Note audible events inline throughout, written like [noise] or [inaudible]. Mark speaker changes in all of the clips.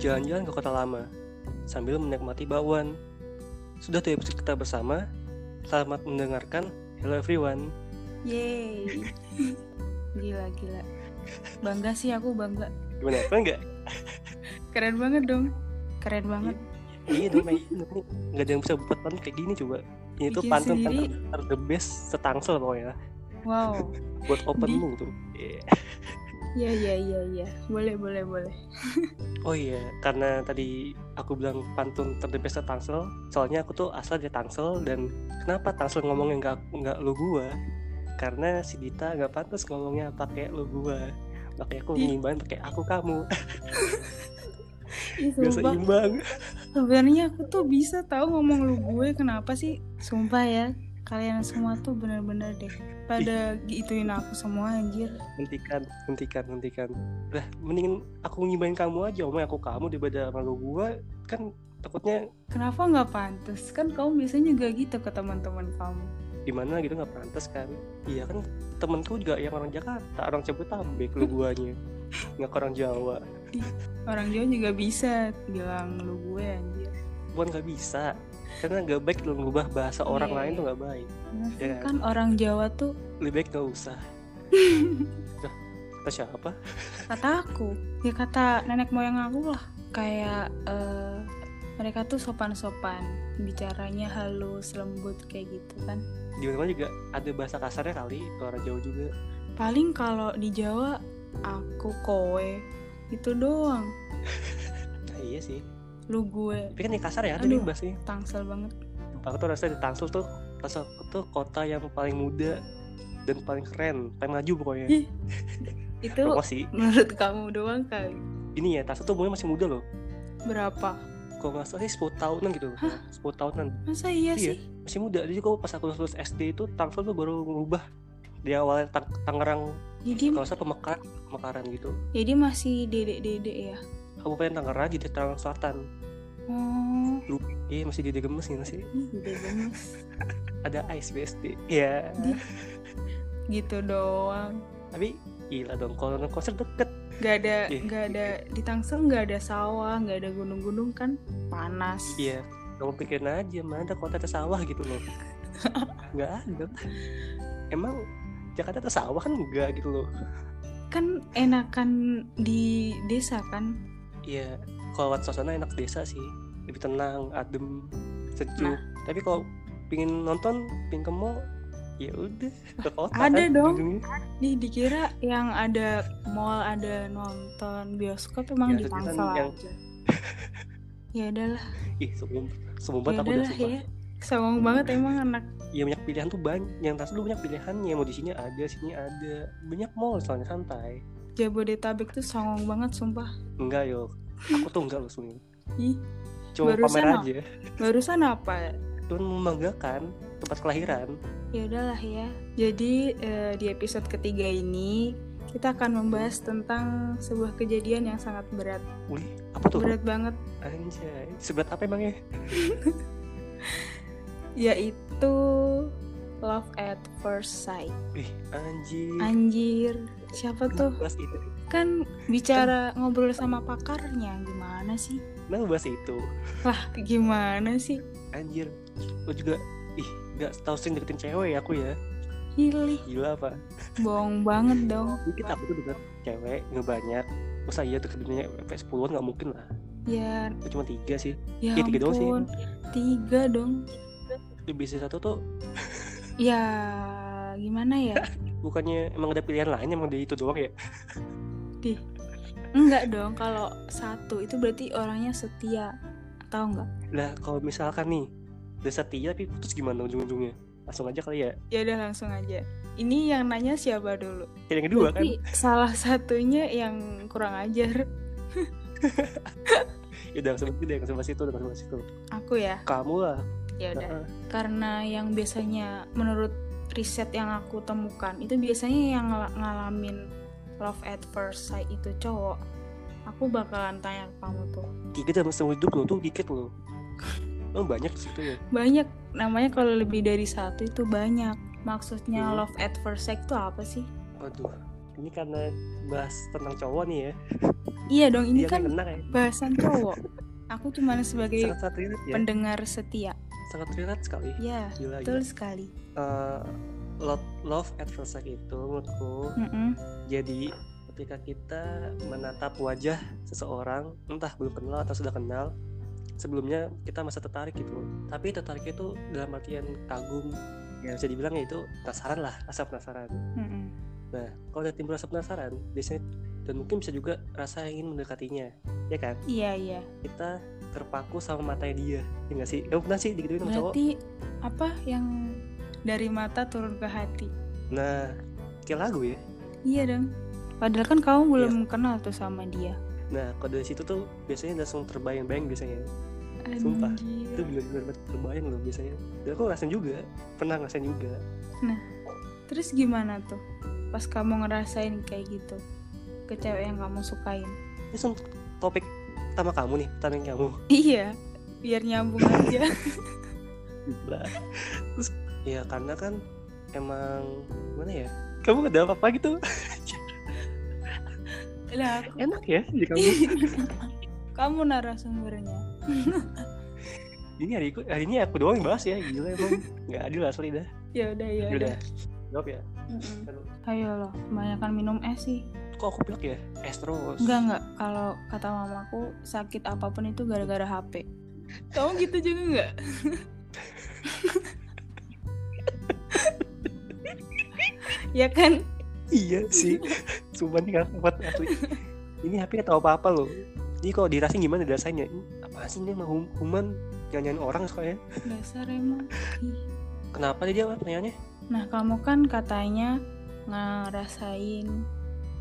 Speaker 1: jalan-jalan ke kota lama sambil menikmati bakwan. Sudah tuh episode kita bersama. Selamat mendengarkan. Hello everyone.
Speaker 2: [laughs] Yeay. Gila, gila. Bangga sih aku, bangga.
Speaker 1: Gimana? Keren nggak?
Speaker 2: Keren banget dong. Keren banget.
Speaker 1: Iya dong, kayak gini. nggak ada yang bisa buat pantun kayak gini coba. Ini tuh
Speaker 2: Bikin
Speaker 1: pantun
Speaker 2: sendiri.
Speaker 1: ter, ter- the best setangsel pokoknya.
Speaker 2: Wow.
Speaker 1: Buat open
Speaker 2: Di-
Speaker 1: lu tuh. Iya.
Speaker 2: [laughs] Iya, iya, iya, iya. Boleh, boleh, boleh.
Speaker 1: Oh iya, karena tadi aku bilang pantun ter the best setangsel. Soalnya aku tuh asal dari Tangsel dan kenapa Tangsel ngomongnya nggak nggak lu gua? Karena si Dita nggak pantas ngomongnya pakai lu gua. Pakai aku
Speaker 2: Ih.
Speaker 1: ngimbang pakai aku kamu. [laughs]
Speaker 2: Ih,
Speaker 1: Biasa
Speaker 2: sumpah.
Speaker 1: imbang.
Speaker 2: Sebenarnya aku tuh bisa tahu ngomong lu gue kenapa sih? Sumpah ya. Kalian semua tuh bener-bener deh pada gituin aku semua anjir.
Speaker 1: hentikan hentikan hentikan lah mendingan aku ngimbain kamu aja omong aku kamu daripada malu gua kan takutnya
Speaker 2: Kenapa nggak pantas? Kan kamu biasanya juga gitu ke teman-teman kamu.
Speaker 1: gimana gitu nggak pantas kan iya kan temenku juga yang orang Jakarta orang Jabodetabek lu
Speaker 2: [laughs]
Speaker 1: guanya nggak ke orang Jawa
Speaker 2: Orang Jawa juga bisa bilang lu gue anjir.
Speaker 1: bukan nggak bisa karena nggak baik lu ngubah bahasa orang
Speaker 2: Iya,
Speaker 1: lain
Speaker 2: iya.
Speaker 1: tuh nggak baik
Speaker 2: Bener sih,
Speaker 1: Iya.
Speaker 2: Kan orang Jawa tuh
Speaker 1: lebih baik nggak usah
Speaker 2: [laughs]
Speaker 1: Udah, kata siapa
Speaker 2: kata aku ya kata nenek moyang aku lah kayak eh, mereka tuh sopan-sopan bicaranya halus lembut kayak gitu kan
Speaker 1: di mana juga ada bahasa kasarnya kali ke orang Jawa juga
Speaker 2: paling kalau di Jawa aku kowe itu doang
Speaker 1: nah, iya sih
Speaker 2: lu gue
Speaker 1: tapi kan yang kasar ya ada nih
Speaker 2: Aduh.
Speaker 1: bahasanya
Speaker 2: tangsel banget
Speaker 1: aku tuh rasanya di Tangsel tuh rasa aku tuh kota yang paling muda dan paling keren paling maju pokoknya
Speaker 2: Ih, itu
Speaker 1: promosi
Speaker 2: [laughs] menurut kamu doang kali
Speaker 1: ini ya Tangsel tuh umurnya masih muda loh
Speaker 2: berapa
Speaker 1: kalau nggak salah sih 10 tahunan gitu
Speaker 2: Hah?
Speaker 1: 10 tahunan
Speaker 2: masa iya,
Speaker 1: Iya.
Speaker 2: sih
Speaker 1: masih muda jadi kalau pas aku lulus SD itu Tangsel tuh baru ngubah di awalnya Tang- Tangerang
Speaker 2: jadi
Speaker 1: kalau nggak salah pemekaran pemekaran gitu
Speaker 2: jadi masih dedek-dedek ya
Speaker 1: Kabupaten Tangerang jadi Tangerang Selatan
Speaker 2: oh
Speaker 1: iya masih di gemes gitu sih
Speaker 2: ih, gede banget
Speaker 1: ada AIS BSD iya
Speaker 2: Di- gitu doang
Speaker 1: tapi gila dong kalau nonton konser deket
Speaker 2: nggak ada
Speaker 1: Iya.
Speaker 2: nggak ada di Tangsel nggak ada sawah nggak ada gunung-gunung kan panas
Speaker 1: Iya, kamu pikirin aja mana ada kota ada sawah gitu
Speaker 2: [laughs]
Speaker 1: loh. Nggak ada. Emang Jakarta ada sawah kan enggak gitu loh.
Speaker 2: kan enakan di desa kan
Speaker 1: Iya, kalau lewat suasana enak desa sih, lebih tenang, adem, sejuk.
Speaker 2: Nah.
Speaker 1: Tapi kalau pingin nonton, pingin ke mall, ya udah ke kota
Speaker 2: Ada
Speaker 1: kan,
Speaker 2: dong.
Speaker 1: ujung-ujungnya.
Speaker 2: nih dikira yang ada mall ada nonton bioskop
Speaker 1: Ya,
Speaker 2: emang di
Speaker 1: maksudnya kan
Speaker 2: Tangsel
Speaker 1: yang-
Speaker 2: aja [laughs] ya adalah
Speaker 1: Ih, sebelum sebelum
Speaker 2: ya
Speaker 1: banget aku udah
Speaker 2: adalah
Speaker 1: sumpah.
Speaker 2: ya Songong banget emang anak
Speaker 1: Ya banyak pilihan tuh banyak, yang tas lu banyak pilihannya. Mau di sini ada, sini ada. Banyak mall soalnya santai.
Speaker 2: Jabodetabek tuh songong banget sumpah
Speaker 1: Enggak yo, aku tuh enggak loh sebenarnya.
Speaker 2: Ih,
Speaker 1: Cuma
Speaker 2: Barusan
Speaker 1: pamer
Speaker 2: aku-
Speaker 1: aja.
Speaker 2: barusan apa
Speaker 1: cuman membanggakan tempat kelahiran
Speaker 2: Ya udahlah ya. Jadi eh, di episode ketiga ini kita akan membahas tentang sebuah kejadian yang sangat berat,
Speaker 1: wih apa tuh
Speaker 2: berat banget,
Speaker 1: anjay seberat apa emangnya
Speaker 2: yaitu love at first sight.
Speaker 1: wih anjir
Speaker 2: Anjir, siapa tuh?
Speaker 1: bahas itu
Speaker 2: Kan bicara ngobrol sama pakarnya gimana sih?
Speaker 1: kenapa bahas itu
Speaker 2: Lah, gimana sih?
Speaker 1: anjir lo juga ih gak tau sering deketin cewek ya aku ya
Speaker 2: Hilih,
Speaker 1: gila apa
Speaker 2: bohong banget dong.
Speaker 1: mungkin aku tuh deket cewek nggak banyak masa iya deketinnya sampai sepuluhan nggak mungkin lah
Speaker 2: Ya,
Speaker 1: itu cuma tiga sih
Speaker 2: ya
Speaker 1: Iya, tiga doang sih.
Speaker 2: ampun. Tiga dong.
Speaker 1: lebih dari satu tuh
Speaker 2: Ya, gimana ya?
Speaker 1: bukannya emang ada pilihan lain emang dia itu doang ya
Speaker 2: Enggak dong, kalau satu itu berarti orangnya setia. Tahu nggak?
Speaker 1: lah kalau misalkan nih udah setia tapi putus gimana ujung-ujungnya langsung aja kali ya
Speaker 2: Ya udah langsung aja. Ini yang nanya siapa dulu?
Speaker 1: yang kedua kan
Speaker 2: berarti salah satunya yang kurang ajar.
Speaker 1: ya udah langsung deh langsung bahas itu udah langsung bahas itu
Speaker 2: Aku ya.
Speaker 1: kamu lah
Speaker 2: Ya udah.
Speaker 1: Heeh.
Speaker 2: Karena yang biasanya menurut riset yang aku temukan itu biasanya yang ngala- ngalamin love at first sight itu cowok. Aku bakalan tanya ke kamu tuh.
Speaker 1: tiga dalam seumur hidup lo tuh dikit lo emang banyak di situ ya
Speaker 2: Banyak namanya kalau lebih dari satu itu banyak. Maksudnya
Speaker 1: Hmm.
Speaker 2: love at first sight itu apa sih?
Speaker 1: aduh ini karena bahas tentang cowok nih ya
Speaker 2: Iya dong, ini
Speaker 1: dia
Speaker 2: kan
Speaker 1: kena ya
Speaker 2: bahasan cowok. Aku cuma sebagai
Speaker 1: sangat sangat relate ya
Speaker 2: pendengar setia.
Speaker 1: sangat relate sekali
Speaker 2: Ya,
Speaker 1: gila
Speaker 2: betul
Speaker 1: gila
Speaker 2: sekali.
Speaker 1: Eh, love, love at first sight itu menurutku
Speaker 2: Mm-mm.
Speaker 1: jadi ketika kita menatap wajah seseorang entah belum kenal atau sudah kenal sebelumnya kita masa tertarik gitu tapi tertarik itu dalam artian kagum ya bisa dibilang ya itu penasaran lah rasa penasaran
Speaker 2: Mm-mm.
Speaker 1: Nah, kalau udah timbul rasa penasaran, biasanya dan mungkin bisa juga rasa ingin mendekatinya, ya kan?
Speaker 2: Iya, iya.
Speaker 1: Kita terpaku sama matanya dia, ya nggak sih? Kamu pernah sih digituin sama cowok?
Speaker 2: Berarti apa yang dari mata turun ke hati?
Speaker 1: Nah, kayak lagu ya.
Speaker 2: Iya dong. Padahal kan kamu belum
Speaker 1: Iya.
Speaker 2: kenal tuh sama dia.
Speaker 1: Nah, kalau dari situ tuh biasanya langsung terbayang-bayang biasanya. Sumpah.
Speaker 2: Anjir.
Speaker 1: Itu benar-benar banget terbayang loh biasanya. Dan aku ngerasain juga, pernah ngerasain juga.
Speaker 2: Terus gimana tuh? Pas kamu ngerasain kayak gitu ke cewek yang kamu sukain. [laughs]
Speaker 1: Ini langsung topik pertama kamu nih, pertanyaan kamu.
Speaker 2: Iya, biar nyambung aja.
Speaker 1: Gila. Terus, ya karena kan emang gimana ya? Kamu nggak ada apa-apa gitu?
Speaker 2: [laughs] lah aku-
Speaker 1: Enak ya di kamu.
Speaker 2: kamu narasumbernya.
Speaker 1: ini hari, aku- hari ini aku doang yang bahas ya gila emang nggak adil asli dah
Speaker 2: Ya udah ya.
Speaker 1: udah jawab ya
Speaker 2: Mm-mm. Ayo loh, kebanyakan minum es sih.
Speaker 1: kok aku pilek ya es terus
Speaker 2: Enggak enggak, kalau kata mamaku sakit apapun itu gara-gara HP. Kamu gitu juga enggak? ya kan?
Speaker 1: iya sih cuman nggak kuat asli ini HP nggak tahu apa apa loh ini kalau dirasain gimana dirasainnya Ini apa sih ini mah hum- human nyanyian orang soalnya
Speaker 2: Dasar emang. Ih.
Speaker 1: kenapa dia jawab pertanyaannya
Speaker 2: Nah, kamu kan katanya ngerasain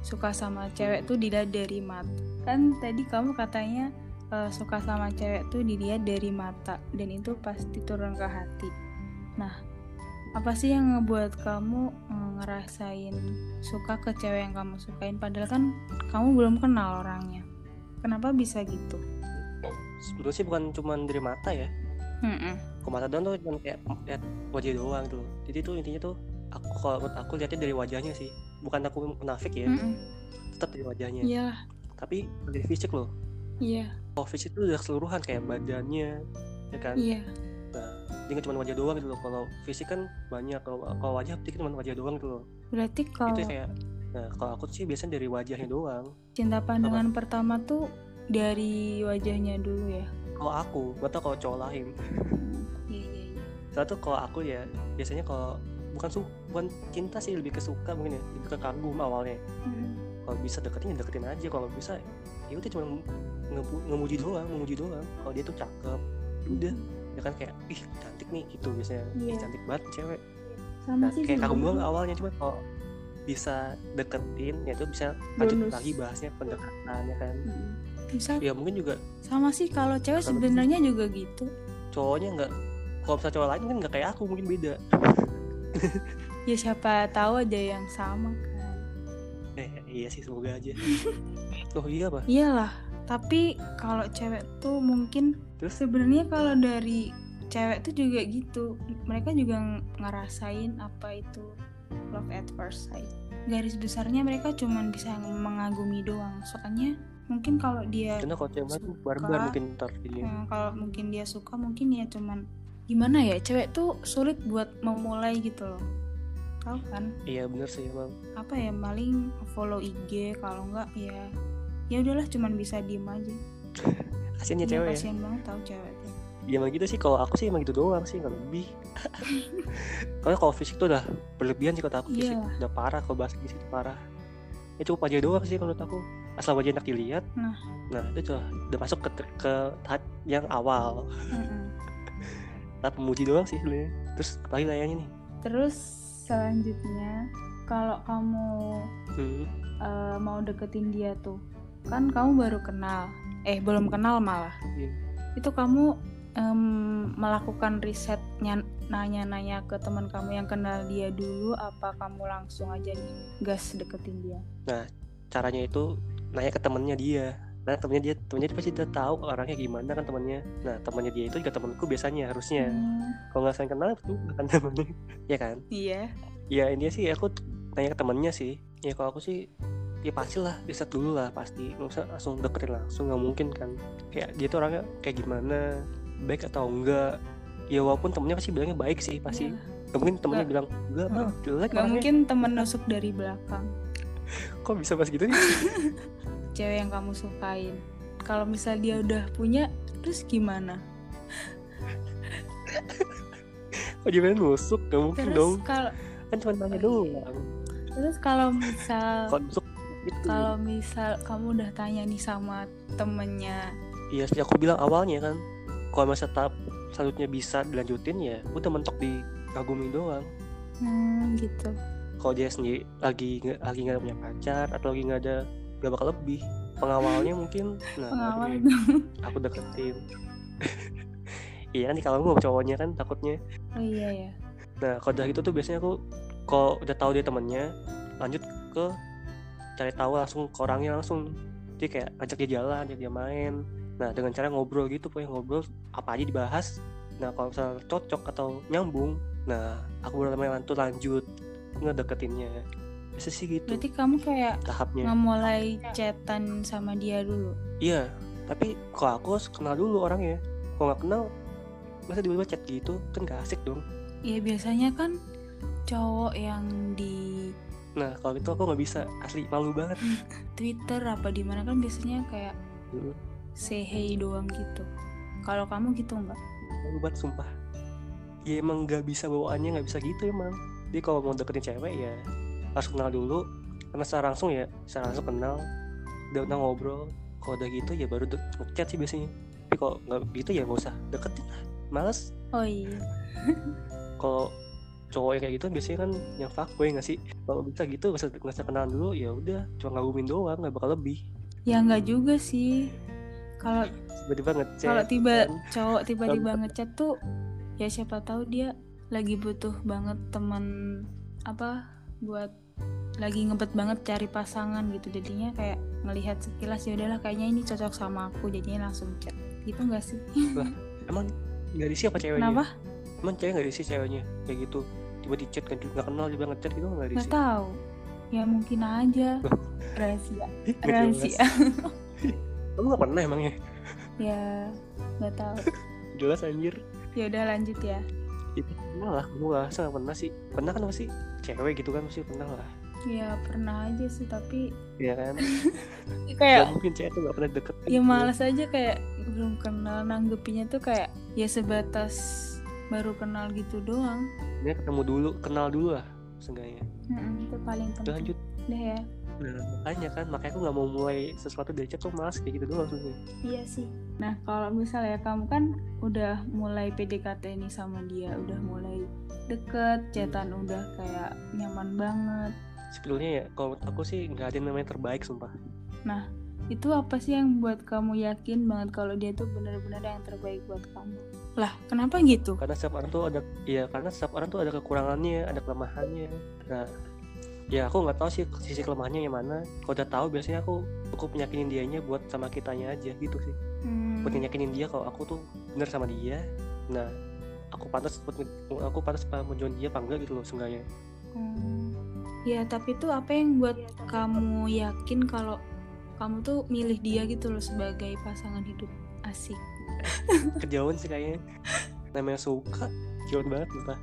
Speaker 2: suka sama cewek tuh dilihat dari mata. Kan tadi kamu katanya eh, suka sama cewek tuh dilihat dari mata dan itu pasti turun ke hati. Nah, apa sih yang ngebuat kamu eh, ngerasain suka ke cewek yang kamu sukain padahal kan kamu belum kenal orangnya. Kenapa bisa gitu?
Speaker 1: sebetulnya sih bukan cuma dari mata ya
Speaker 2: Mm-mm.
Speaker 1: ke mata doang tuh cuma kayak lihat wajah doang tuh jadi tuh intinya tuh aku kalau menurut aku lihatnya dari wajahnya sih bukan aku munafik ya
Speaker 2: Mm-mm.
Speaker 1: tetap dari wajahnya
Speaker 2: Hmm. Iya,
Speaker 1: tapi dari fisik loh
Speaker 2: iya,
Speaker 1: kalau fisik itu udah keseluruhan kayak badannya ya kan
Speaker 2: iya.
Speaker 1: nah dia nggak cuma wajah doang gitu loh kalau fisik kan banyak kalau kalau wajah berarti cuma wajah doang gitu loh
Speaker 2: Berarti kalau
Speaker 1: itu kayak nah kalau aku sih biasanya dari wajahnya doang
Speaker 2: cinta pandangan pertama tuh dari wajahnya dulu ya.
Speaker 1: kalau aku gak tau kalau cowok lain
Speaker 2: Iya iya iya.
Speaker 1: satu kalau aku ya biasanya kalau bukan su bukan cinta sih lebih ke suka mungkin ya lebih ke kagum awalnya
Speaker 2: Hmm.
Speaker 1: kalau bisa deketin ya deketin aja kalau nggak bisa ya udah cuma ngepu- ngemuji doang memuji doang kalau dia tuh cakep udah ya kan kayak ih cantik nih gitu biasanya ih
Speaker 2: Iya.
Speaker 1: cantik banget cewek
Speaker 2: Sama
Speaker 1: Nah,
Speaker 2: sih.
Speaker 1: kayak kagum doang
Speaker 2: sebenarnya.
Speaker 1: awalnya cuma kalau bisa deketin ya itu bisa lanjut
Speaker 2: Bonus.
Speaker 1: lagi bahasnya pendekatan ya kan
Speaker 2: Mm. Misal
Speaker 1: ya mungkin juga
Speaker 2: sama sih kalau cewek
Speaker 1: Kalau-
Speaker 2: sebenarnya juga gitu.
Speaker 1: cowoknya nggak kalau bisa cowok lain kan nggak kayak aku mungkin beda
Speaker 2: Ya siapa tahu aja yang sama kan.
Speaker 1: eh iya sih semoga
Speaker 2: [laughs]
Speaker 1: aja oh iya apa
Speaker 2: Iyalah, tapi kalau cewek tuh mungkin
Speaker 1: Terus?
Speaker 2: sebenarnya kalau dari cewek tuh juga gitu. Mereka juga ng- ngerasain apa itu love at first sight. Garis besarnya mereka cuman bisa mengagumi doang. Soalnya mungkin kalau dia
Speaker 1: karena kalau cewek tuh barbar
Speaker 2: Suka.
Speaker 1: mungkin ntar jadinya.
Speaker 2: Hmm, kalau mungkin dia suka mungkin ya cuman gimana ya cewek tuh sulit buat memulai gitu loh tahu kan
Speaker 1: iya bener sih emang
Speaker 2: apa ya paling follow IG kalau enggak ya ya udahlah cuman bisa diem aja
Speaker 1: kasian ya
Speaker 2: Iya,
Speaker 1: cewek ya
Speaker 2: kasihan banget tahu cewek tuh
Speaker 1: ya emang gitu sih kalau aku sih emang gitu doang sih nggak
Speaker 2: [laughs]
Speaker 1: lebih karena kalau fisik tuh udah berlebihan sih kalau aku fisik
Speaker 2: Iya.
Speaker 1: udah parah kalau bahas fisik parah ya cukup wajah doang sih kalau menurut aku asal wajah enak dilihat
Speaker 2: Nah.
Speaker 1: nah itu tuh udah masuk ke ke tahap yang awal
Speaker 2: Mm-mm.
Speaker 1: tahap memuji doang sih sebenarnya terus apalagi layaknya nih
Speaker 2: terus selanjutnya kalau kamu
Speaker 1: hmm.
Speaker 2: eh, mau deketin dia tuh kan kamu baru kenal eh belum kenal malah
Speaker 1: Iya.
Speaker 2: itu kamu em, melakukan riset nyan- nanya-nanya ke teman kamu yang kenal dia dulu apa kamu langsung aja gas deketin dia
Speaker 1: caranya itu nanya ke temennya dia nah temennya dia temennya dia pasti udah tahu orangnya gimana kan temennya nah temennya dia itu juga temanku biasanya harusnya
Speaker 2: Hmm,
Speaker 1: kalau nggak [laughs] saling kenal itu bukan temennya ya kan
Speaker 2: iya
Speaker 1: ya intinya sih aku nanya ke temennya sih ya kalau aku sih ya pasti lah riset dulu lah pasti nggak usah langsung deketin langsung nggak mungkin kan kayak dia tuh orangnya kayak gimana baik atau enggak ya walaupun temennya pasti bilangnya baik sih pasti
Speaker 2: Iya.
Speaker 1: Nggak mungkin temennya
Speaker 2: Nggak.
Speaker 1: bilang enggak bang jelek
Speaker 2: Gak
Speaker 1: orangnya."
Speaker 2: mungkin temen nusuk dari belakang
Speaker 1: kok bisa pas gitu nih
Speaker 2: cewek yang kamu sukain. Kalau misal dia udah punya, terus gimana?
Speaker 1: kok gimana nusuk nggak mungkin dong
Speaker 2: Terus kalau
Speaker 1: kan cuma nanya
Speaker 2: Oh, iya.
Speaker 1: doang
Speaker 2: terus kalau misal
Speaker 1: kalau nusuk gitu
Speaker 2: kalau misal kamu udah tanya nih sama temennya,
Speaker 1: iya seperti aku bilang awalnya kan kalau masa tahap selanjutnya bisa dilanjutin ya udah mentok di kagumi doang
Speaker 2: hmm, gitu.
Speaker 1: kalau dia sendiri lagi nggak- lagi nggak punya pacar atau lagi nggak ada nggak bakal lebih pengawalnya mungkin nah baru
Speaker 2: Pengawal
Speaker 1: deh
Speaker 2: dong.
Speaker 1: aku deketin [laughs] iya nih kalau mau cowoknya kan takutnya
Speaker 2: Oh iya ya.
Speaker 1: nah kalau udah gitu tuh biasanya aku kalau udah tahu dia temennya lanjut ke cari tahu langsung ke orangnya langsung jadi kayak ajak dia jalan ajak dia main nah dengan cara ngobrol gitu pokoknya ngobrol apa aja dibahas nah kalau misalnya cocok atau nyambung nah aku baru namanya lanjut lanjut ngedeketinnya biasa sih gitu
Speaker 2: Berarti kamu kayak
Speaker 1: tahapnya
Speaker 2: ngemulai chatan sama dia dulu.
Speaker 1: iya tapi kalau aku harus kenal dulu orangnya kalau nggak kenal masa tiba-tiba chat gitu kan gak asik dong
Speaker 2: Ya biasanya kan cowok yang di
Speaker 1: nah kalau itu aku nggak bisa asli malu banget
Speaker 2: Twitter apa di mana kan biasanya kayak
Speaker 1: Hmm.
Speaker 2: say hey doang gitu. Kalau kamu gitu nggak?
Speaker 1: malu banget sumpah ya emang nggak bisa bawaannya nggak bisa gitu emang jadi kalau mau deketin cewek ya harus kenal dulu karena secara langsung ya secara langsung kenal udah udah ngobrol kalau udah gitu ya baru de- ngechat sih biasanya tapi kalau nggak gitu ya nggak usah deketin lah males
Speaker 2: Oh iya.
Speaker 1: kalau cowok yang kayak gitu biasanya kan yang fuckboy nggak sih kalau bisa gitu nggak usah nggak usah kenalan dulu ya udah cuma ngagumin doang nggak bakal lebih
Speaker 2: Ya nggak juga sih. Kalau
Speaker 1: tiba-tiba ngechat
Speaker 2: kalau tiba
Speaker 1: kan.
Speaker 2: cowok tiba-tiba ngechat tuh ya siapa tahu dia lagi butuh banget teman apa buat lagi ngebet banget cari pasangan gitu jadinya kayak ngelihat sekilas ya udahlah kayaknya ini cocok sama aku jadinya langsung chat gitu nggak sih
Speaker 1: Oh, iya, emang nggak diisi apa ceweknya
Speaker 2: kenapa
Speaker 1: emang cewek nggak diisi ceweknya kayak gitu tiba di chat kan nggak kenal tiba ngechat gitu nggak diisi
Speaker 2: nggak tahu ya mungkin
Speaker 1: [laughs]
Speaker 2: aja
Speaker 1: Loh.
Speaker 2: rahasia
Speaker 1: Ih, nggak
Speaker 2: rahasia
Speaker 1: jelas. kamu nggak pernah emangnya
Speaker 2: ya nggak tahu
Speaker 1: jelas anjir
Speaker 2: ya udah lanjut ya
Speaker 1: itu pernah lah kamu nggak saya nggak pernah sih pernah kan masih cewek gitu kan masih pernah lah
Speaker 2: ya pernah aja sih tapi
Speaker 1: ya kan
Speaker 2: kayak
Speaker 1: Nggak mungkin cewek tuh nggak pernah deket
Speaker 2: ya Iya. males aja kayak belum kenal nanggepinya tuh kayak ya sebatas baru kenal gitu doang
Speaker 1: ya ketemu dulu kenal dulu lah seenggaknya
Speaker 2: Mm-mm, itu paling
Speaker 1: udah
Speaker 2: penting
Speaker 1: lanjut
Speaker 2: deh ya
Speaker 1: Nah, makanya kan, makanya aku nggak mau mulai sesuatu dari chat tuh malas kayak gitu doang sebenarnya.
Speaker 2: iya sih nah kalau misalnya kamu kan udah mulai PDKT nih sama dia udah mulai deket chatan udah kayak nyaman banget
Speaker 1: Sebetulnya ya, kalau menurut aku sih nggak ada yang namanya terbaik sumpah.
Speaker 2: itu apa sih yang buat kamu yakin banget kalau dia tuh bener-bener yang terbaik buat kamu lah kenapa gitu
Speaker 1: Karena setiap orang tuh ada, ya karena setiap orang tuh ada kekurangannya, ada kelemahannya. Nah, ya aku nggak tahu sih sisi kelemahannya yang mana. Kalau udah tahu biasanya aku cukup nyakinin dianya buat sama kitanya aja gitu sih.
Speaker 2: Hmm,
Speaker 1: Buat nyakinin dia kalau aku tuh bener sama dia. Nah, aku pantas buat nge- aku pantas apa menjoin dia apa enggak gitu loh seenggaknya.
Speaker 2: Hmm. Iya, Ya, tapi tuh apa yang buat kamu yakin kalau kamu tuh milih dia gitu loh sebagai pasangan hidup asik?
Speaker 1: kejauhan sih kayaknya namanya suka jauh banget lupa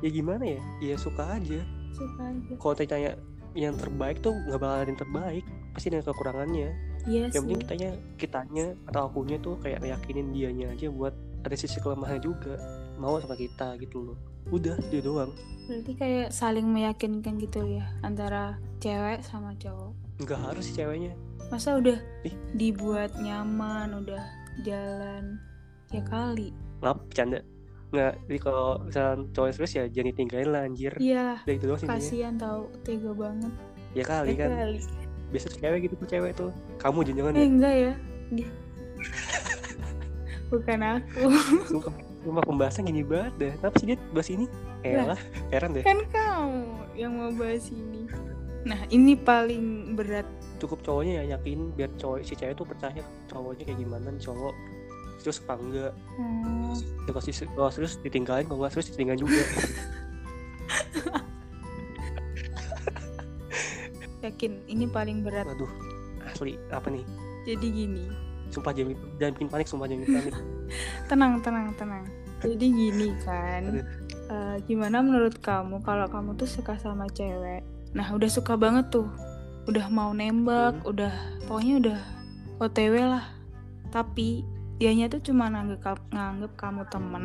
Speaker 1: ya gimana ya ya suka aja
Speaker 2: Suka aja.
Speaker 1: kalau tanya yang terbaik tuh nggak bakal ada yang terbaik pasti ada kekurangannya yang
Speaker 2: Iya sih.
Speaker 1: penting Ya, kitanya kitanya atau akunya tuh kayak yakinin dianya aja buat ada sisi kelemahannya juga mau sama kita gitu loh udah dia doang
Speaker 2: Berarti kayak saling meyakinkan gitu ya antara cewek sama cowok.
Speaker 1: nggak harus sih ceweknya
Speaker 2: Masa udah
Speaker 1: Ih.
Speaker 2: dibuat nyaman, udah jalan ya
Speaker 1: Hmm.
Speaker 2: kali.
Speaker 1: maaf bercanda nggak jadi kalau misalnya cowok terus ya jangan ditinggalin lah anjir
Speaker 2: Iya,
Speaker 1: udah itu doang sih intinya.
Speaker 2: kasihan tahu tega banget.
Speaker 1: ya kali
Speaker 2: Ya
Speaker 1: kan
Speaker 2: kali.
Speaker 1: biasa tuh cewek gitu tuh cewek tuh kamu jangan-jangan
Speaker 2: Eh,
Speaker 1: ya
Speaker 2: enggak ya. Di- [laughs] Bukan aku.
Speaker 1: Sumpah, sumpah pembahasan gini banget dah. Kenapa sih dia bahas ini? Eh
Speaker 2: Lah.
Speaker 1: lah, heran deh.
Speaker 2: kan kamu yang mau bahas ini nah ini paling berat
Speaker 1: Cukup cowoknya ya yakin biar cowok si cewek tuh percaya cowoknya kayak gimana nih cowok terus apa enggak ya, kalau, si- kalau serius ditinggalin kalau nggak serius ditinggalin juga
Speaker 2: ya yakin ini paling berat.
Speaker 1: Waduh, asli apa nih?
Speaker 2: Jadi gini,
Speaker 1: Sumpah jangan, jangan bikin panik, sumpah jangan bikin panik.
Speaker 2: tenang, tenang, tenang. Jadi gini kan,
Speaker 1: Aduh.
Speaker 2: eh, gimana menurut kamu kalau kamu tuh suka sama cewek? Nah, udah suka banget tuh, udah mau nembak, udah pokoknya udah OTW lah. Tapi dianya tuh cuma nganggep, ka- nganggep kamu temen,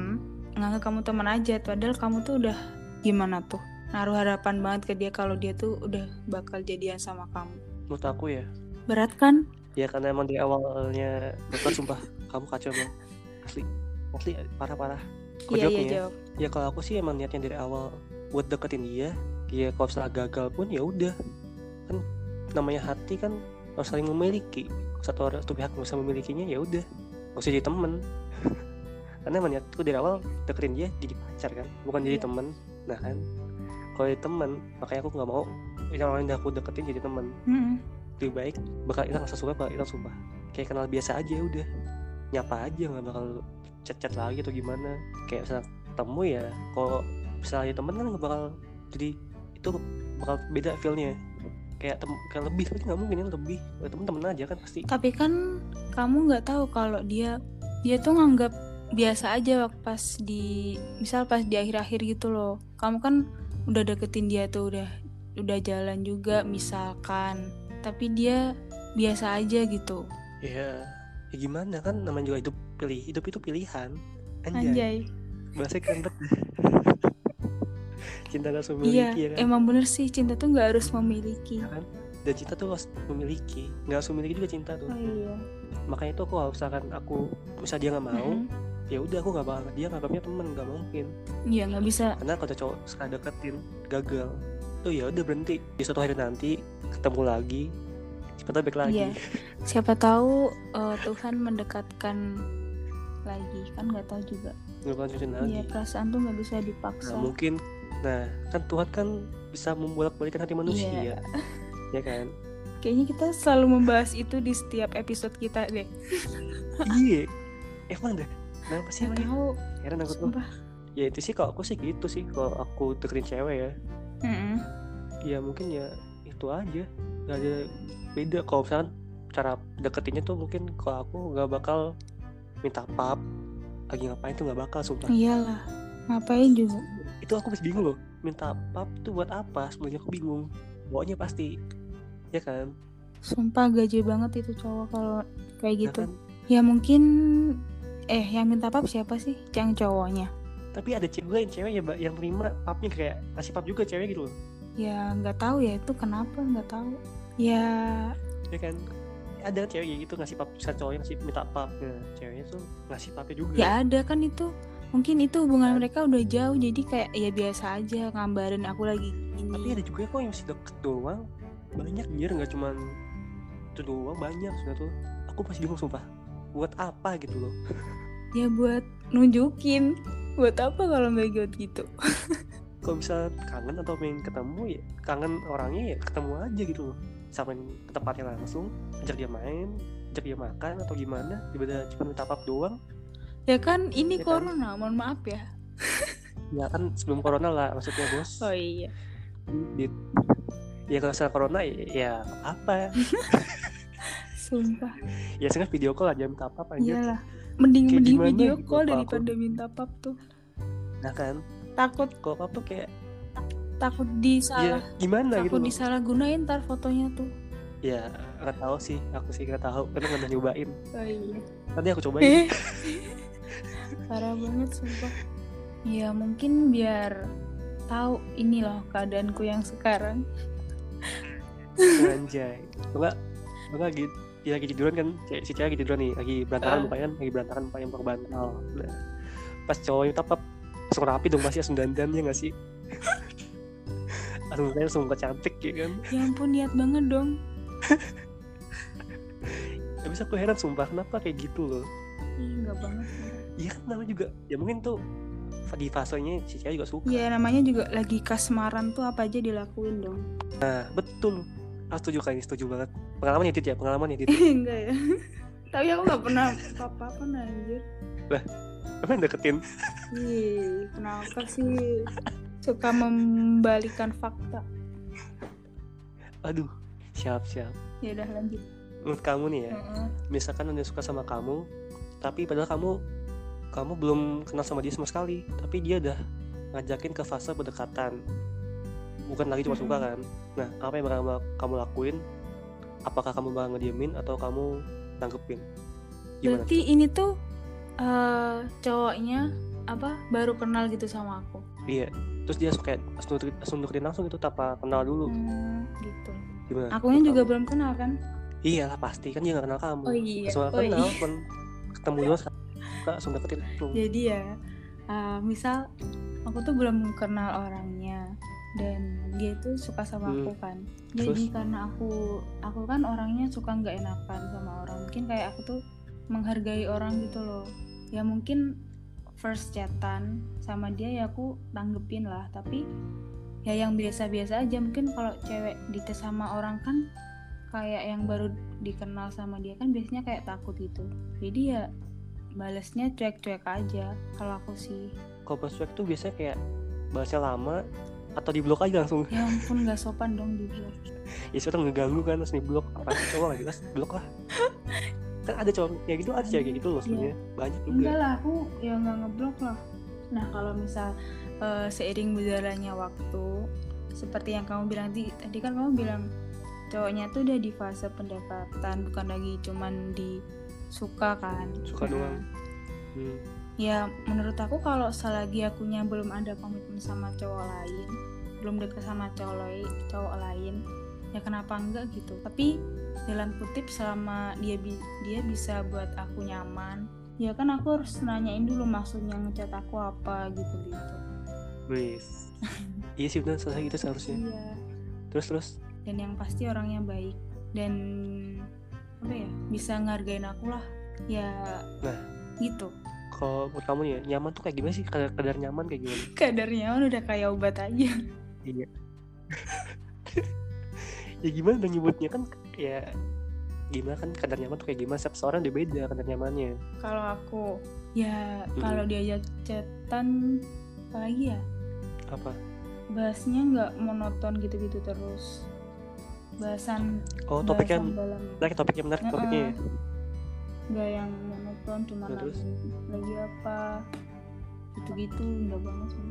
Speaker 2: nganggep kamu temen aja. Padahal kamu tuh udah gimana tuh? Naruh harapan banget ke dia kalau dia tuh udah bakal jadian sama kamu.
Speaker 1: Menurut aku ya,
Speaker 2: Berat kan?
Speaker 1: ya karena emang dari awalnya dokter sumpah kamu kacau emang asli asli parah parah Kok
Speaker 2: Iya,
Speaker 1: jawab
Speaker 2: iya
Speaker 1: nih ya?
Speaker 2: jawab.
Speaker 1: ya kalau aku sih emang niatnya dari awal buat deketin dia ya kalau misalnya gagal pun ya udah kan namanya hati kan harus saling memiliki satu orang satu pihak nggak usah memilikinya ya udah nggak usah jadi temen [laughs] karena emang niatku dari awal deketin dia jadi pacar kan bukan jadi
Speaker 2: Iya.
Speaker 1: temen nah kan kalau jadi temen makanya aku nggak mau yang orang yang udah aku deketin jadi temen
Speaker 2: Mm-mm.
Speaker 1: lebih baik bakal hilang rasa suka bakal hilang sumpah kayak kenal biasa aja ya udah nyapa aja nggak bakal chat-chat lagi atau gimana kayak misalnya ketemu ya kalau misalnya temen kan nggak bakal jadi itu bakal beda feelnya kayak tem kayak lebih tapi nggak mungkin ya lebih Kalau temen temen aja kan pasti
Speaker 2: tapi kan kamu nggak tahu kalau dia dia tuh nganggap biasa aja waktu pas di misal pas di akhir-akhir gitu loh kamu kan udah deketin dia tuh udah udah jalan juga misalkan tapi dia biasa aja gitu
Speaker 1: ya ya gimana kan namanya juga hidup pilih hidup itu pilihan anjay,
Speaker 2: anjay
Speaker 1: bahasa keren banget [laughs] cinta harus
Speaker 2: iya
Speaker 1: memiliki ya kan
Speaker 2: emang bener sih cinta tuh nggak harus memiliki
Speaker 1: dan cinta tuh harus memiliki nggak harus memiliki juga cinta tuh
Speaker 2: oh iya
Speaker 1: makanya itu aku kalau misalkan aku misal dia nggak mau
Speaker 2: Mm-mm.
Speaker 1: ya udah aku nggak bakal dia nganggapnya temen nggak mungkin
Speaker 2: iya nggak bisa
Speaker 1: karena kalau ada cowok suka deketin gagal tuh ya udah berhenti di suatu hari nanti ketemu lagi cepetan balik lagi
Speaker 2: Iya. siapa tahu eh, Tuhan mendekatkan lagi kan nggak tahu juga
Speaker 1: nggak bakal cuci lagi
Speaker 2: iya perasaan tuh nggak bisa dipaksa
Speaker 1: nah mungkin nah kan Tuhan kan bisa membolak balikan hati manusia
Speaker 2: Iya. [laughs]
Speaker 1: ya kan
Speaker 2: Kayaknya kita selalu membahas itu di setiap episode kita deh.
Speaker 1: iya emang deh kenapa sih emang
Speaker 2: Siapa
Speaker 1: ya?
Speaker 2: tahu,
Speaker 1: heran aku tuh
Speaker 2: sumpah.
Speaker 1: ya itu sih kalau aku sih gitu sih kalau aku deketin cewek ya
Speaker 2: Mm-mm.
Speaker 1: ya mungkin ya itu aja nggak ada beda kalau misalkan cara deketinnya tuh mungkin kalau aku nggak bakal minta pap lagi ngapain tuh nggak bakal sumpah
Speaker 2: Iyalah, ngapain juga?
Speaker 1: itu aku masih bingung loh minta pap tuh buat apa sebenarnya aku bingung bawanya pasti ya kan
Speaker 2: Sumpah gaji banget itu cowok kalau kayak
Speaker 1: Nah
Speaker 2: gitu.
Speaker 1: kan?
Speaker 2: Ya mungkin eh yang minta pap siapa sih? Yang cowoknya.
Speaker 1: tapi ada cewek lain cewek ya Mbak, yang terima papnya kayak kasih pap juga cewek gitu loh
Speaker 2: Ya nggak tahu ya itu kenapa nggak tahu. Ya
Speaker 1: ya kan ada cewek kayak gitu ngasih pap misalnya cowoknya ngasih minta pap nah, ceweknya tuh ngasih papnya juga
Speaker 2: ya ada kan itu. Mungkin itu hubungan
Speaker 1: Ada.
Speaker 2: mereka udah jauh jadi kayak ya biasa aja ngambarin aku lagi
Speaker 1: tapi
Speaker 2: ini.
Speaker 1: ada juga kok yang masih deket doang banyak anjir nggak cuman itu doang banyak sebenarnya tuh aku masih bingung sumpah buat apa gitu loh
Speaker 2: Ya buat nunjukin buat apa kalau nggak buat gitu.
Speaker 1: kalau misalnya kangen atau pengen ketemu ya kangen orangnya ya ketemu aja gitu loh samain ke tempatnya langsung ajak dia main ajak dia makan atau gimana daripada cuma minta pap doang
Speaker 2: Ya kan ini
Speaker 1: Ya kan?
Speaker 2: corona, mohon maaf ya.
Speaker 1: ya kan sebelum corona lah maksudnya bos
Speaker 2: Oh iya.
Speaker 1: Di- ya kalau misalnya corona ya, ya apa
Speaker 2: Sumpah.
Speaker 1: ya sekarang video call aja minta pap anjir
Speaker 2: Iyalah. Mending
Speaker 1: Kayak
Speaker 2: mending
Speaker 1: gimana
Speaker 2: video
Speaker 1: gitu,
Speaker 2: call
Speaker 1: Pak,
Speaker 2: daripada minta pap tuh.
Speaker 1: nah kan
Speaker 2: Takut
Speaker 1: kalau pap tuh kayak
Speaker 2: takut
Speaker 1: ya
Speaker 2: disalah.
Speaker 1: gimana gitu
Speaker 2: takut
Speaker 1: loh.
Speaker 2: disalah gunain ntar fotonya tuh.
Speaker 1: ya nggak tahu sih aku sih nggak tahu karena nggak pernah nyobain
Speaker 2: Oh iya.
Speaker 1: nanti aku cobain
Speaker 2: Eh. [laughs] Parah banget sumpah. Ya mungkin biar tahu ini loh keadaanku yang sekarang.
Speaker 1: Gitu, anjay enggak enggak gitu dia lagi tiduran kan ce- si cewek lagi tiduran nih lagi berantakan
Speaker 2: Ah.
Speaker 1: mukanya kan lagi berantakan mukanya pakai bantal nah, pas cowoknya tetap langsung rapi dong pasti langsung dandan ya nggak sih [laughs] langsung mukanya langsung muka cantik ya kan
Speaker 2: Ya ampun niat banget dong.
Speaker 1: habis aku heran sumpah kenapa kayak gitu loh
Speaker 2: Ih, enggak banget. sumpah.
Speaker 1: iya kan namanya juga ya mungkin tuh di fasenya si cewek juga suka
Speaker 2: Ya namanya juga lagi kasmaran tuh apa aja dilakuin [laughs] dong. Iya.
Speaker 1: nah betul aku setuju kali ini setuju banget pengalaman ya Dit ya pengalaman
Speaker 2: [laughs]
Speaker 1: ya Dit
Speaker 2: Enggak ya. Tapi aku nggak pernah apa-apa anjir.
Speaker 1: emang deketin
Speaker 2: Ih, kenapa sih suka membalikan fakta?
Speaker 1: aduh siap siap
Speaker 2: ya udah lanjut
Speaker 1: menurut kamu nih ya
Speaker 2: Heeh.
Speaker 1: misalkan dia suka sama kamu tapi padahal kamu kamu belum kenal sama dia sama sekali tapi dia udah ngajakin ke fase pendekatan bukan lagi cuma
Speaker 2: Hmm.
Speaker 1: suka kan nah apa yang bakal kamu lakuin apakah kamu bakal ngediemin atau kamu tanggepin gimana
Speaker 2: berarti ini tuh eh, cowoknya apa baru kenal gitu sama aku
Speaker 1: iya terus dia suka langsung nukerin- langsung nukerin langsung itu tanpa kenal dulu
Speaker 2: Hmm, gitu
Speaker 1: gimana
Speaker 2: akunya
Speaker 1: menurut
Speaker 2: juga
Speaker 1: kamu?
Speaker 2: belum kenal kan
Speaker 1: iyalah pasti kan dia gak kenal kamu
Speaker 2: oh iya
Speaker 1: Langsung
Speaker 2: oh
Speaker 1: kenal
Speaker 2: iya
Speaker 1: pun ketemu dulu suka langsung deketin langsung.
Speaker 2: jadi ya eh, misal aku tuh belum kenal orangnya dan dia tuh suka sama
Speaker 1: Hmm.
Speaker 2: aku kan jadi
Speaker 1: Terus?
Speaker 2: karena aku aku kan orangnya suka nggak enakan sama orang mungkin kayak aku tuh menghargai orang gitu loh ya mungkin first chatan sama dia ya aku tanggepin lah tapi ya yang biasa-biasa aja mungkin kalau cewek dites sama orang kan kayak yang baru dikenal sama dia kan biasanya kayak takut gitu jadi ya balesnya cuek-cuek aja kalau aku sih
Speaker 1: kalau bahas cuek tuh biasanya kayak bahasnya lama atau di blok aja langsung
Speaker 2: ya ampun nggak sopan dong di blog
Speaker 1: ya sekarang ngeganggu kan terus di blok apa sih cowok lagi jelas blok lah kan ada cowok kayak gitu ada cewek kayak gitu loh sebenarnya banyak juga
Speaker 2: enggak lah aku ya nggak ngeblok lah nah kalau misal eh, seiring berjalannya waktu seperti yang kamu bilang tadi tadi kan kamu bilang cowoknya tuh udah di fase pendekatan bukan lagi cuman di suka kan
Speaker 1: Suka doang. Hmm.
Speaker 2: ya menurut aku kalau selagi akunya belum ada komitmen sama cowok lain belum deket sama cowok lai- cowok lain ya kenapa enggak gitu tapi dalam kutip selama dia bi- dia bisa buat aku nyaman ya kan aku harus nanyain dulu maksudnya ngecat aku apa gitu gitu
Speaker 1: Wis. iya sih benar selesai gitu seharusnya
Speaker 2: iya
Speaker 1: terus terus
Speaker 2: dan yang pasti orangnya baik dan apa ya bisa ngargain aku lah ya
Speaker 1: Nah.
Speaker 2: gitu
Speaker 1: kalau menurut kamu ya nyaman tuh kayak gimana sih kadar, kadar nyaman kayak gimana
Speaker 2: kadarnya udah kayak obat aja
Speaker 1: ya gimana dong nyebutnya kan ya gimana kan kadar nyaman tuh kayak gimana setiap seorang udah beda kadar nyamannya
Speaker 2: kalau aku ya kalau diajak chatan apalagi ya
Speaker 1: apa
Speaker 2: bahasnya nggak monoton gitu-gitu terus bahasan
Speaker 1: oh topiknya
Speaker 2: bahasan dalam
Speaker 1: menarik topiknya menarik
Speaker 2: Heeh.
Speaker 1: topiknya ya
Speaker 2: nggak yang monoton cuma
Speaker 1: Nah, terus?
Speaker 2: nanya, lagi apa gitu-gitu nggak banget sih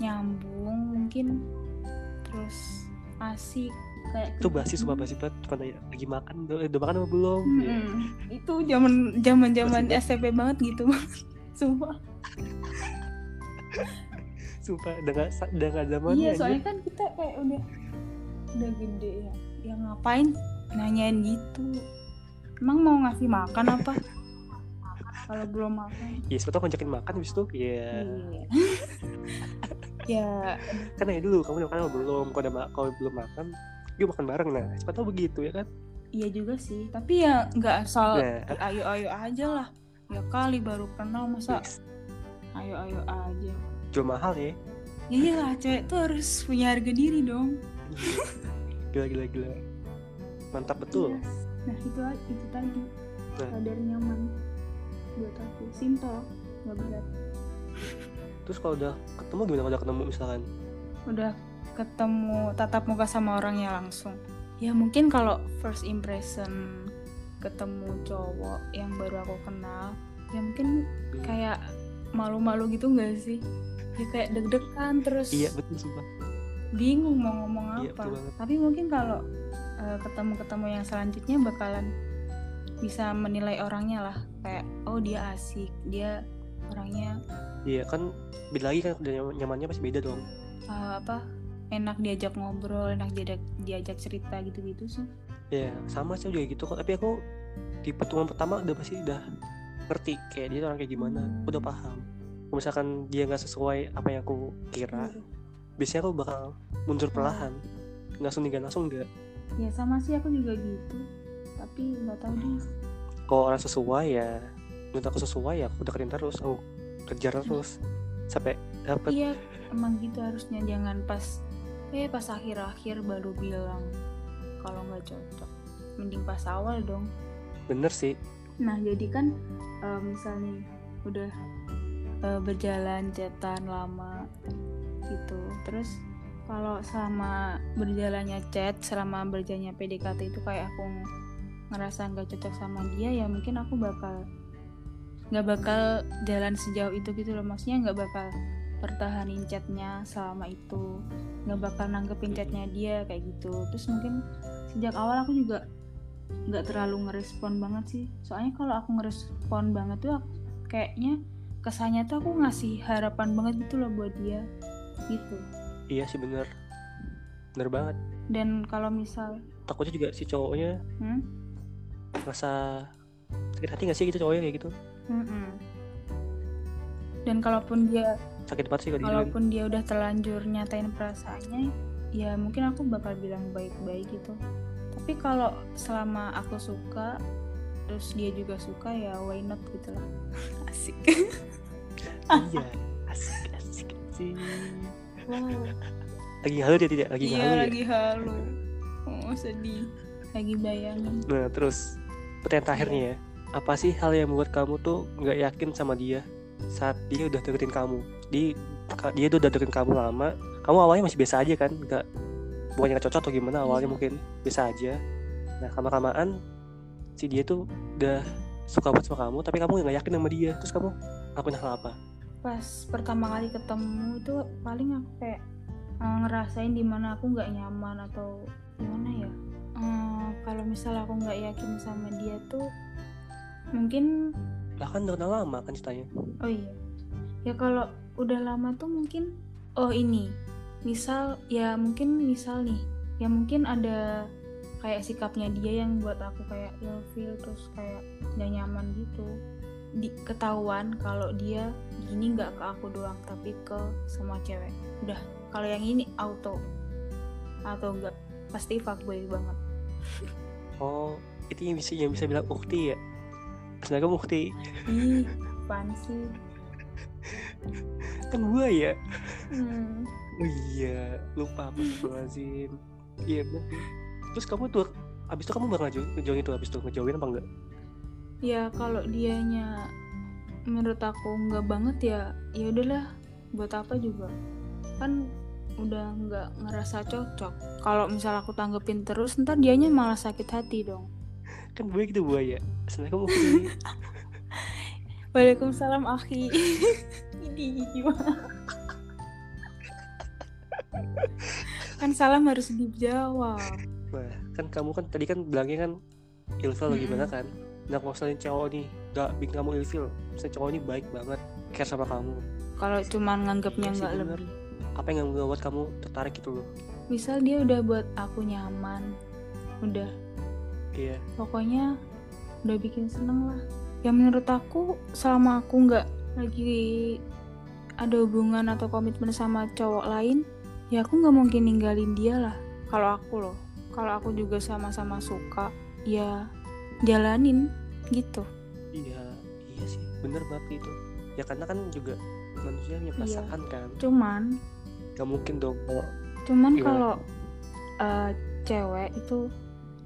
Speaker 2: nyambung mungkin terus asik kayak
Speaker 1: itu basi sumpah
Speaker 2: kegiatan.
Speaker 1: basi banget cuma nanya lagi makan udah, udah makan apa belum Iya.
Speaker 2: Mm-mm. itu zaman zaman zaman
Speaker 1: Masih
Speaker 2: SMP banget gitu [laughs] sumpah
Speaker 1: sumpah udah gak, udah gak zamannya
Speaker 2: iya
Speaker 1: anjir.
Speaker 2: soalnya kan kita kayak udah udah gede ya ya ngapain nanyain gitu emang mau ngasih makan apa kalau belum makan
Speaker 1: ya sebetulnya aku ngajakin makan habis itu ya
Speaker 2: iya ya
Speaker 1: kan nanya dulu kamu udah makan apa belum kalau udah ma- kalau belum makan yuk makan bareng nah sebetulnya begitu ya kan
Speaker 2: iya juga sih tapi ya nggak asal
Speaker 1: nah
Speaker 2: ayo ayo aja lah ya kali baru kenal masa ayo ayo aja
Speaker 1: jual mahal ya
Speaker 2: ya iyalah cewek tuh harus punya harga diri dong
Speaker 1: gila gila gila mantap betul
Speaker 2: Iya. nah itu a- itu tadi
Speaker 1: Nah.
Speaker 2: kadar nyaman buat aku simple nggak berat
Speaker 1: terus kalau udah ketemu gimana kalau udah ketemu misalkan
Speaker 2: udah ketemu tatap muka sama orangnya langsung ya mungkin kalau first impression ketemu cowok yang baru aku kenal ya mungkin
Speaker 1: Hmm.
Speaker 2: kayak malu-malu gitu nggak sih ya kayak deg-degan terus
Speaker 1: iya betul sumpah
Speaker 2: bingung mau ngomong
Speaker 1: Iya,
Speaker 2: apa
Speaker 1: betul banget.
Speaker 2: tapi mungkin kalau eh, ketemu-ketemu yang selanjutnya bakalan bisa menilai orangnya lah kayak oh dia asik dia orangnya
Speaker 1: iya kan beda lagi kan udah nyaman- nyamannya pasti beda dong
Speaker 2: eh, apa enak diajak ngobrol enak diajak diajak cerita gitu-gitu sih
Speaker 1: ya sama sih juga gitu kok tapi aku di pertemuan pertama udah pasti udah ngerti kayak dia orang kayak gimana aku udah paham kalau misalkan dia nggak sesuai apa yang aku kira biasanya aku bakal mundur perlahan nggak langsung tinggal langsung nggak
Speaker 2: ya sama sih aku juga gitu tapi nggak tahu deh
Speaker 1: kalau orang sesuai ya menurut aku sesuai ya aku deketin terus aku kejar terus sampai dapet
Speaker 2: iya emang gitu harusnya jangan pas eh pas akhir-akhir baru bilang kalau nggak cocok mending pas awal dong
Speaker 1: bener sih
Speaker 2: nah jadi kan eh, misalnya udah eh, berjalan cetan lama gitu terus kalau sama berjalannya chat selama berjalannya PDKT itu kayak aku ngerasa nggak cocok sama dia ya mungkin aku bakal nggak bakal jalan sejauh itu gitu loh maksudnya nggak bakal pertahanin chatnya selama itu nggak bakal nanggepin chatnya dia kayak gitu terus mungkin sejak awal aku juga nggak terlalu ngerespon banget sih soalnya kalau aku ngerespon banget tuh aku- kayaknya kesannya tuh aku ngasih harapan banget gitu loh buat dia gitu
Speaker 1: iya sih bener bener banget
Speaker 2: dan kalau misal
Speaker 1: takutnya juga si cowoknya
Speaker 2: hmm?
Speaker 1: merasa sakit hati gak sih gitu cowoknya kayak gitu
Speaker 2: Mm-mm. dan kalaupun dia
Speaker 1: sakit banget sih kalau digituin
Speaker 2: kalaupun dia udah terlanjur nyatain perasaannya ya mungkin aku bakal bilang baik-baik gitu tapi kalau selama aku suka terus dia juga suka ya why not gitu lah [laughs] asik
Speaker 1: iya asik asik asik
Speaker 2: wow
Speaker 1: lagi halu dia tidak lagi halu
Speaker 2: iya
Speaker 1: ya
Speaker 2: lagi halu oh sedih lagi bayangin
Speaker 1: nah terus pertanyaan terakhir nih ya apa sih hal yang membuat kamu tuh nggak yakin sama dia saat dia udah deketin kamu di ka- dia tuh udah deketin kamu lama kamu awalnya masih biasa aja kan nggak bukannya nggak cocok atau gimana awalnya
Speaker 2: Iya.
Speaker 1: mungkin biasa aja nah lama kamaan si dia tuh udah suka banget sama kamu tapi kamu nggak yakin sama dia terus kamu lakuin hal apa
Speaker 2: pas pertama kali ketemu itu paling aku kayak eh, ngerasain dimana aku nggak nyaman atau gimana ya Eh, kalau misal aku nggak yakin sama dia tuh mungkin
Speaker 1: bahkan udah kenal lama kan ceritanya
Speaker 2: Oh iya. Ya kalau udah lama tuh mungkin oh ini. Misal ya mungkin misal nih. Ya mungkin ada kayak sikapnya dia yang buat aku kayak ill feel terus kayak gak nyaman gitu. Di, ketahuan kalau dia gini nggak ke aku doang tapi ke semua cewek. Udah, kalau yang ini auto. Atau enggak pasti fuckboy banget.
Speaker 1: oh itu yang bisa yang bisa bilang ukti ya sebenarnya kamu ukti
Speaker 2: Ih, apaan sih?
Speaker 1: kan gua ya
Speaker 2: Hmm.
Speaker 1: Oh iya, lupa Astagfirullahaladzim Iya bener Terus kamu tuh Abis itu kamu bakal ngejoin, ngejoin itu Abis itu ngejoin apa enggak?
Speaker 2: ya kalau dianya menurut aku nggak banget ya ya udahlah buat apa juga kan udah nggak ngerasa cocok kalau misal aku tanggepin terus ntar dianya malah sakit hati dong
Speaker 1: Kan gue gitu buaya Sebenernya kamu ngerti.
Speaker 2: Waalaikumsalam akhi [laughs] ini gimana kan salam harus dijawab
Speaker 1: Nah kan kamu kan Tadi kan bilangnya kan Ilfil atau
Speaker 2: Mm-mm.
Speaker 1: gimana kan Nah kalau misalnya cowok nih Gak bikin kamu ilfil Misalnya cowok ini baik banget Care sama kamu
Speaker 2: kalau cuman
Speaker 1: Iya
Speaker 2: nganggapnya
Speaker 1: sih,
Speaker 2: nggak
Speaker 1: bener.
Speaker 2: lebih
Speaker 1: Apa yang membuat kamu tertarik gitu loh
Speaker 2: misal dia udah buat aku nyaman udah
Speaker 1: Iya
Speaker 2: pokoknya udah bikin seneng lah ya menurut aku selama aku nggak lagi ada hubungan atau komitmen sama cowok lain ya aku nggak mungkin ninggalin dia lah kalau aku loh kalau aku juga sama-sama suka ya jalanin gitu
Speaker 1: Iya Iya sih Bener banget itu Ya karena kan juga Manusia punya
Speaker 2: Iya.
Speaker 1: perasaan kan
Speaker 2: cuman
Speaker 1: Gak mungkin dong kalau
Speaker 2: cuman
Speaker 1: Gimana?
Speaker 2: kalau eh, cewek itu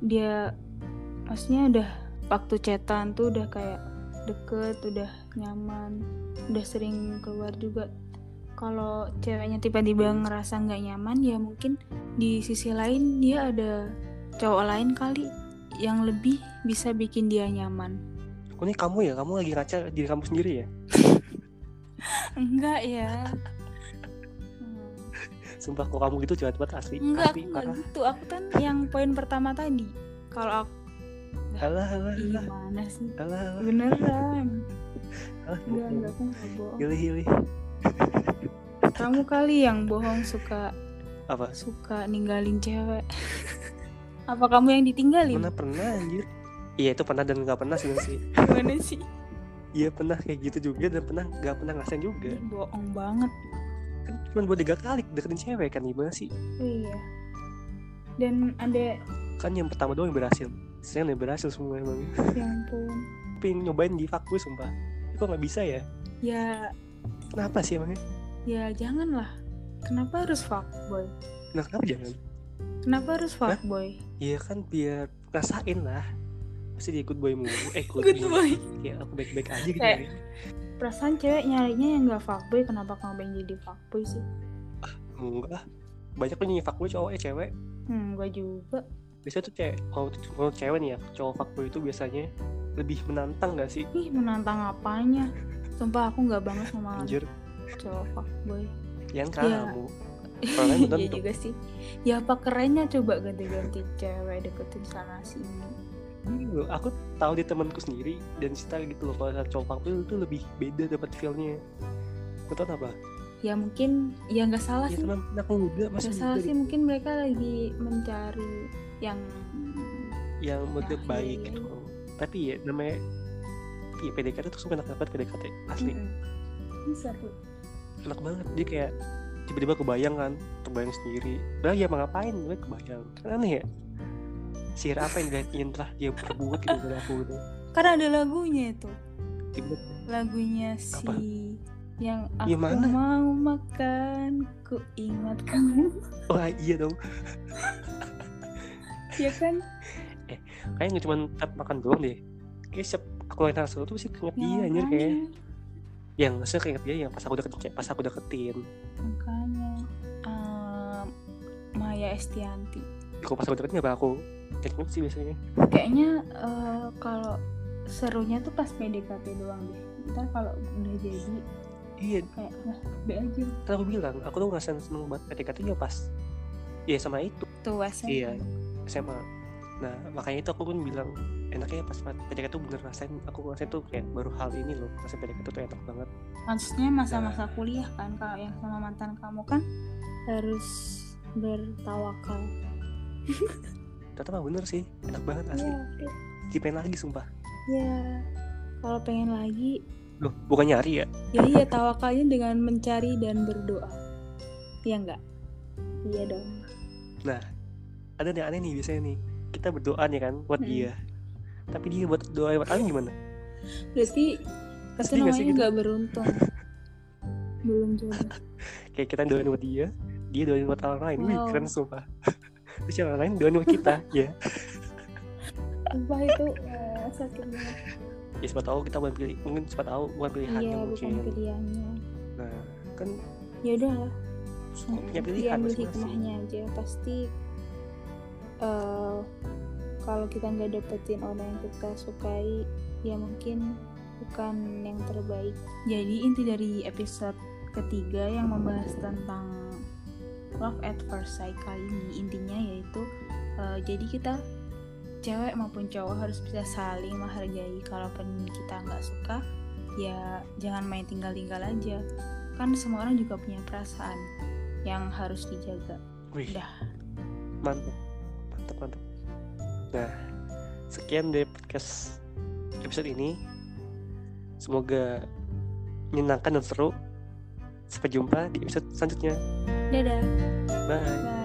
Speaker 2: dia maksudnya udah waktu cetan tuh udah kayak deket udah nyaman udah sering keluar juga kalau ceweknya tiba-tiba ngerasa nggak nyaman ya mungkin di sisi lain dia ada cowok lain kali yang lebih bisa bikin dia nyaman
Speaker 1: Oh ini kamu ya Kamu lagi ngaca diri kamu sendiri ya
Speaker 2: [laughs] enggak ya Hmm.
Speaker 1: Sumpah kok kamu gitu jahat banget asli.
Speaker 2: enggak aku
Speaker 1: asli,
Speaker 2: enggak
Speaker 1: parah.
Speaker 2: gitu aku kan yang poin pertama tadi kalau aku
Speaker 1: Alah, alah,
Speaker 2: Ih,
Speaker 1: alah,
Speaker 2: gimana sih
Speaker 1: alah, alah,
Speaker 2: beneran
Speaker 1: alah,
Speaker 2: enggak
Speaker 1: bohong.
Speaker 2: enggak aku nggak bohong
Speaker 1: Hilih, hilih.
Speaker 2: kamu kali yang bohong suka
Speaker 1: Apa?
Speaker 2: suka ninggalin cewek [laughs] apa kamu yang ditinggalin
Speaker 1: Mana pernah anjir? Iya itu pernah dan nggak pernah sih sih.
Speaker 2: gimana sih
Speaker 1: Iya pernah kayak gitu juga dan pernah nggak pernah ngerasain juga.
Speaker 2: Ih, bohong banget
Speaker 1: Kan cuma buat tiga kali deketin cewek kan gimana sih?
Speaker 2: oh, iya dan ada
Speaker 1: Kan yang pertama doang yang berhasil. Saya yang berhasil semua emang.
Speaker 2: ya ampun
Speaker 1: Ping nyobain di fuckboy sumpah. Ya, kok nggak bisa ya?
Speaker 2: ya
Speaker 1: Kenapa sih emangnya?
Speaker 2: ya janganlah kenapa harus fuckboy
Speaker 1: Nah, kenapa jangan?
Speaker 2: kenapa harus fuckboy
Speaker 1: Iya kan biar rasain lah. Pasti di good boy mulu. Eh good,
Speaker 2: good
Speaker 1: boy.
Speaker 2: boy
Speaker 1: Kayak aku baik-baik aja gitu.
Speaker 2: Kayak-
Speaker 1: ya.
Speaker 2: perasaan cewek nyarinya yang gak fuckboy kenapa kamu pengen jadi fuckboy sih
Speaker 1: Enggak banyak tuh nyanyi fuckboy cowok eh cewek
Speaker 2: Hmm, gue juga.
Speaker 1: biasanya tuh cewek kalau kalau cewek nih ya cowok fuckboy itu biasanya lebih menantang gak sih
Speaker 2: Ih, menantang apanya? Sumpah aku nggak banget sama
Speaker 1: anjir
Speaker 2: cowok fuckboy.
Speaker 1: yang
Speaker 2: Iya.
Speaker 1: kamu Orang
Speaker 2: [laughs]
Speaker 1: lain
Speaker 2: Iya
Speaker 1: belum tentu.
Speaker 2: juga sih. Ya apa kerennya coba ganti-ganti cewek deketin sana sini.
Speaker 1: Ini loh, Iya, aku tahu di temanku sendiri dan Sita gitu loh kalau ada cowok fuckboy itu lebih beda dapat feelnya Kau tau apa?
Speaker 2: Ya mungkin ya nggak salah
Speaker 1: Ya
Speaker 2: sih.
Speaker 1: Iya, teman aku muda masih
Speaker 2: Nggak
Speaker 1: muda
Speaker 2: salah
Speaker 1: gitu.
Speaker 2: sih mungkin mereka lagi mencari yang
Speaker 1: yang moodnya
Speaker 2: Nah, iya,
Speaker 1: baik
Speaker 2: iya.
Speaker 1: gitu. Tapi ya namanya iya PDKT tuh suka enak banget PDKT asli
Speaker 2: Mm-mm. Ini seru.
Speaker 1: enak banget dia kayak tiba-tiba kebayang kan terbayang sendiri udah ya mau ngapain gue kebayang kan aneh ya sihir apa yang dia ingin telah dia perbuat gitu dari aku gitu
Speaker 2: Karena Kan ada lagunya itu.
Speaker 1: tiba-tiba
Speaker 2: lagunya si
Speaker 1: Apa?
Speaker 2: yang aku
Speaker 1: Ya, mana?
Speaker 2: mau makan ku ingat kamu [laughs]
Speaker 1: wah iya dong
Speaker 2: ya kan
Speaker 1: kayak nggak cuma tap makan doang deh kayak siap aku lagi langsung tuh sih keinget dia
Speaker 2: Ya,
Speaker 1: Iya, anjir kayak
Speaker 2: makanya.
Speaker 1: yang maksudnya keinget dia yang pas aku deketin pas aku deketin
Speaker 2: makanya Ehm, Maya Estianti
Speaker 1: kok pas aku deketin apa aku keinget sih biasanya
Speaker 2: kayaknya eh, kalau serunya tuh pas PDKT doang deh ntar kalau udah jadi
Speaker 1: iya
Speaker 2: kayak lah be aja
Speaker 1: kan aku bilang aku tuh ngerasain seneng banget PDKT ya pas ya sama itu
Speaker 2: tuh SMA
Speaker 1: Iya. SMA nah makanya itu aku pun bilang enaknya pas PDKT tuh bener rasain aku ngerasain tuh kayak baru hal ini loh ngerasain PDKT tuh enak banget
Speaker 2: maksudnya
Speaker 1: Nah.
Speaker 2: masa-masa kuliah kan kalau yang sama mantan kamu kan harus bertawakal
Speaker 1: ternyata mah bener sih enak banget asli
Speaker 2: Iya,
Speaker 1: dipengen lagi sumpah
Speaker 2: Ya, kalau pengen lagi,
Speaker 1: loh bukan nyari ya
Speaker 2: ya iya tawakalnya dengan mencari dan berdoa. Iya enggak? Iya dong.
Speaker 1: ada yang aneh nih biasanya nih kita berdoa nih kan buat
Speaker 2: Mm-mm.
Speaker 1: dia tapi dia buat doa buat aku gimana
Speaker 2: Berarti itu
Speaker 1: Sedih nggak sih
Speaker 2: namanya
Speaker 1: gitu?
Speaker 2: nggak beruntung. Belum jodoh.
Speaker 1: [laughs] kayak kita doain buat dia dia doain buat orang lain wih
Speaker 2: Wow.
Speaker 1: keren sumpah [laughs] terus yang orang lain doain buat kita ya
Speaker 2: Sumpah itu eh, sakit banget.
Speaker 1: ya siapa tahu kita bukan pilih mungkin siapa tahu bukan pilihannya
Speaker 2: Iya, bukan
Speaker 1: mungkin
Speaker 2: pilihannya.
Speaker 1: nah kan
Speaker 2: Ya udahlah,
Speaker 1: suka punya pilihan
Speaker 2: diambil
Speaker 1: masing-masing
Speaker 2: hikmahnya aja. Pasti eh, kalau kita nggak dapetin orang yang kita sukai, ya mungkin bukan yang terbaik. Jadi inti dari episode ketiga yang membahas tentang love at first sight kali ini intinya yaitu eh, jadi kita cewek maupun cowok harus bisa saling menghargai kalaupun kita nggak suka ya jangan main tinggal-tinggal aja kan semua orang juga punya perasaan yang harus dijaga
Speaker 1: Wih,
Speaker 2: Dah.
Speaker 1: mantap, mantap, mantap. Nah, sekian dari podcast episode ini. Semoga menyenangkan dan seru. Sampai jumpa di episode selanjutnya.
Speaker 2: dadah
Speaker 1: Bye.
Speaker 2: bye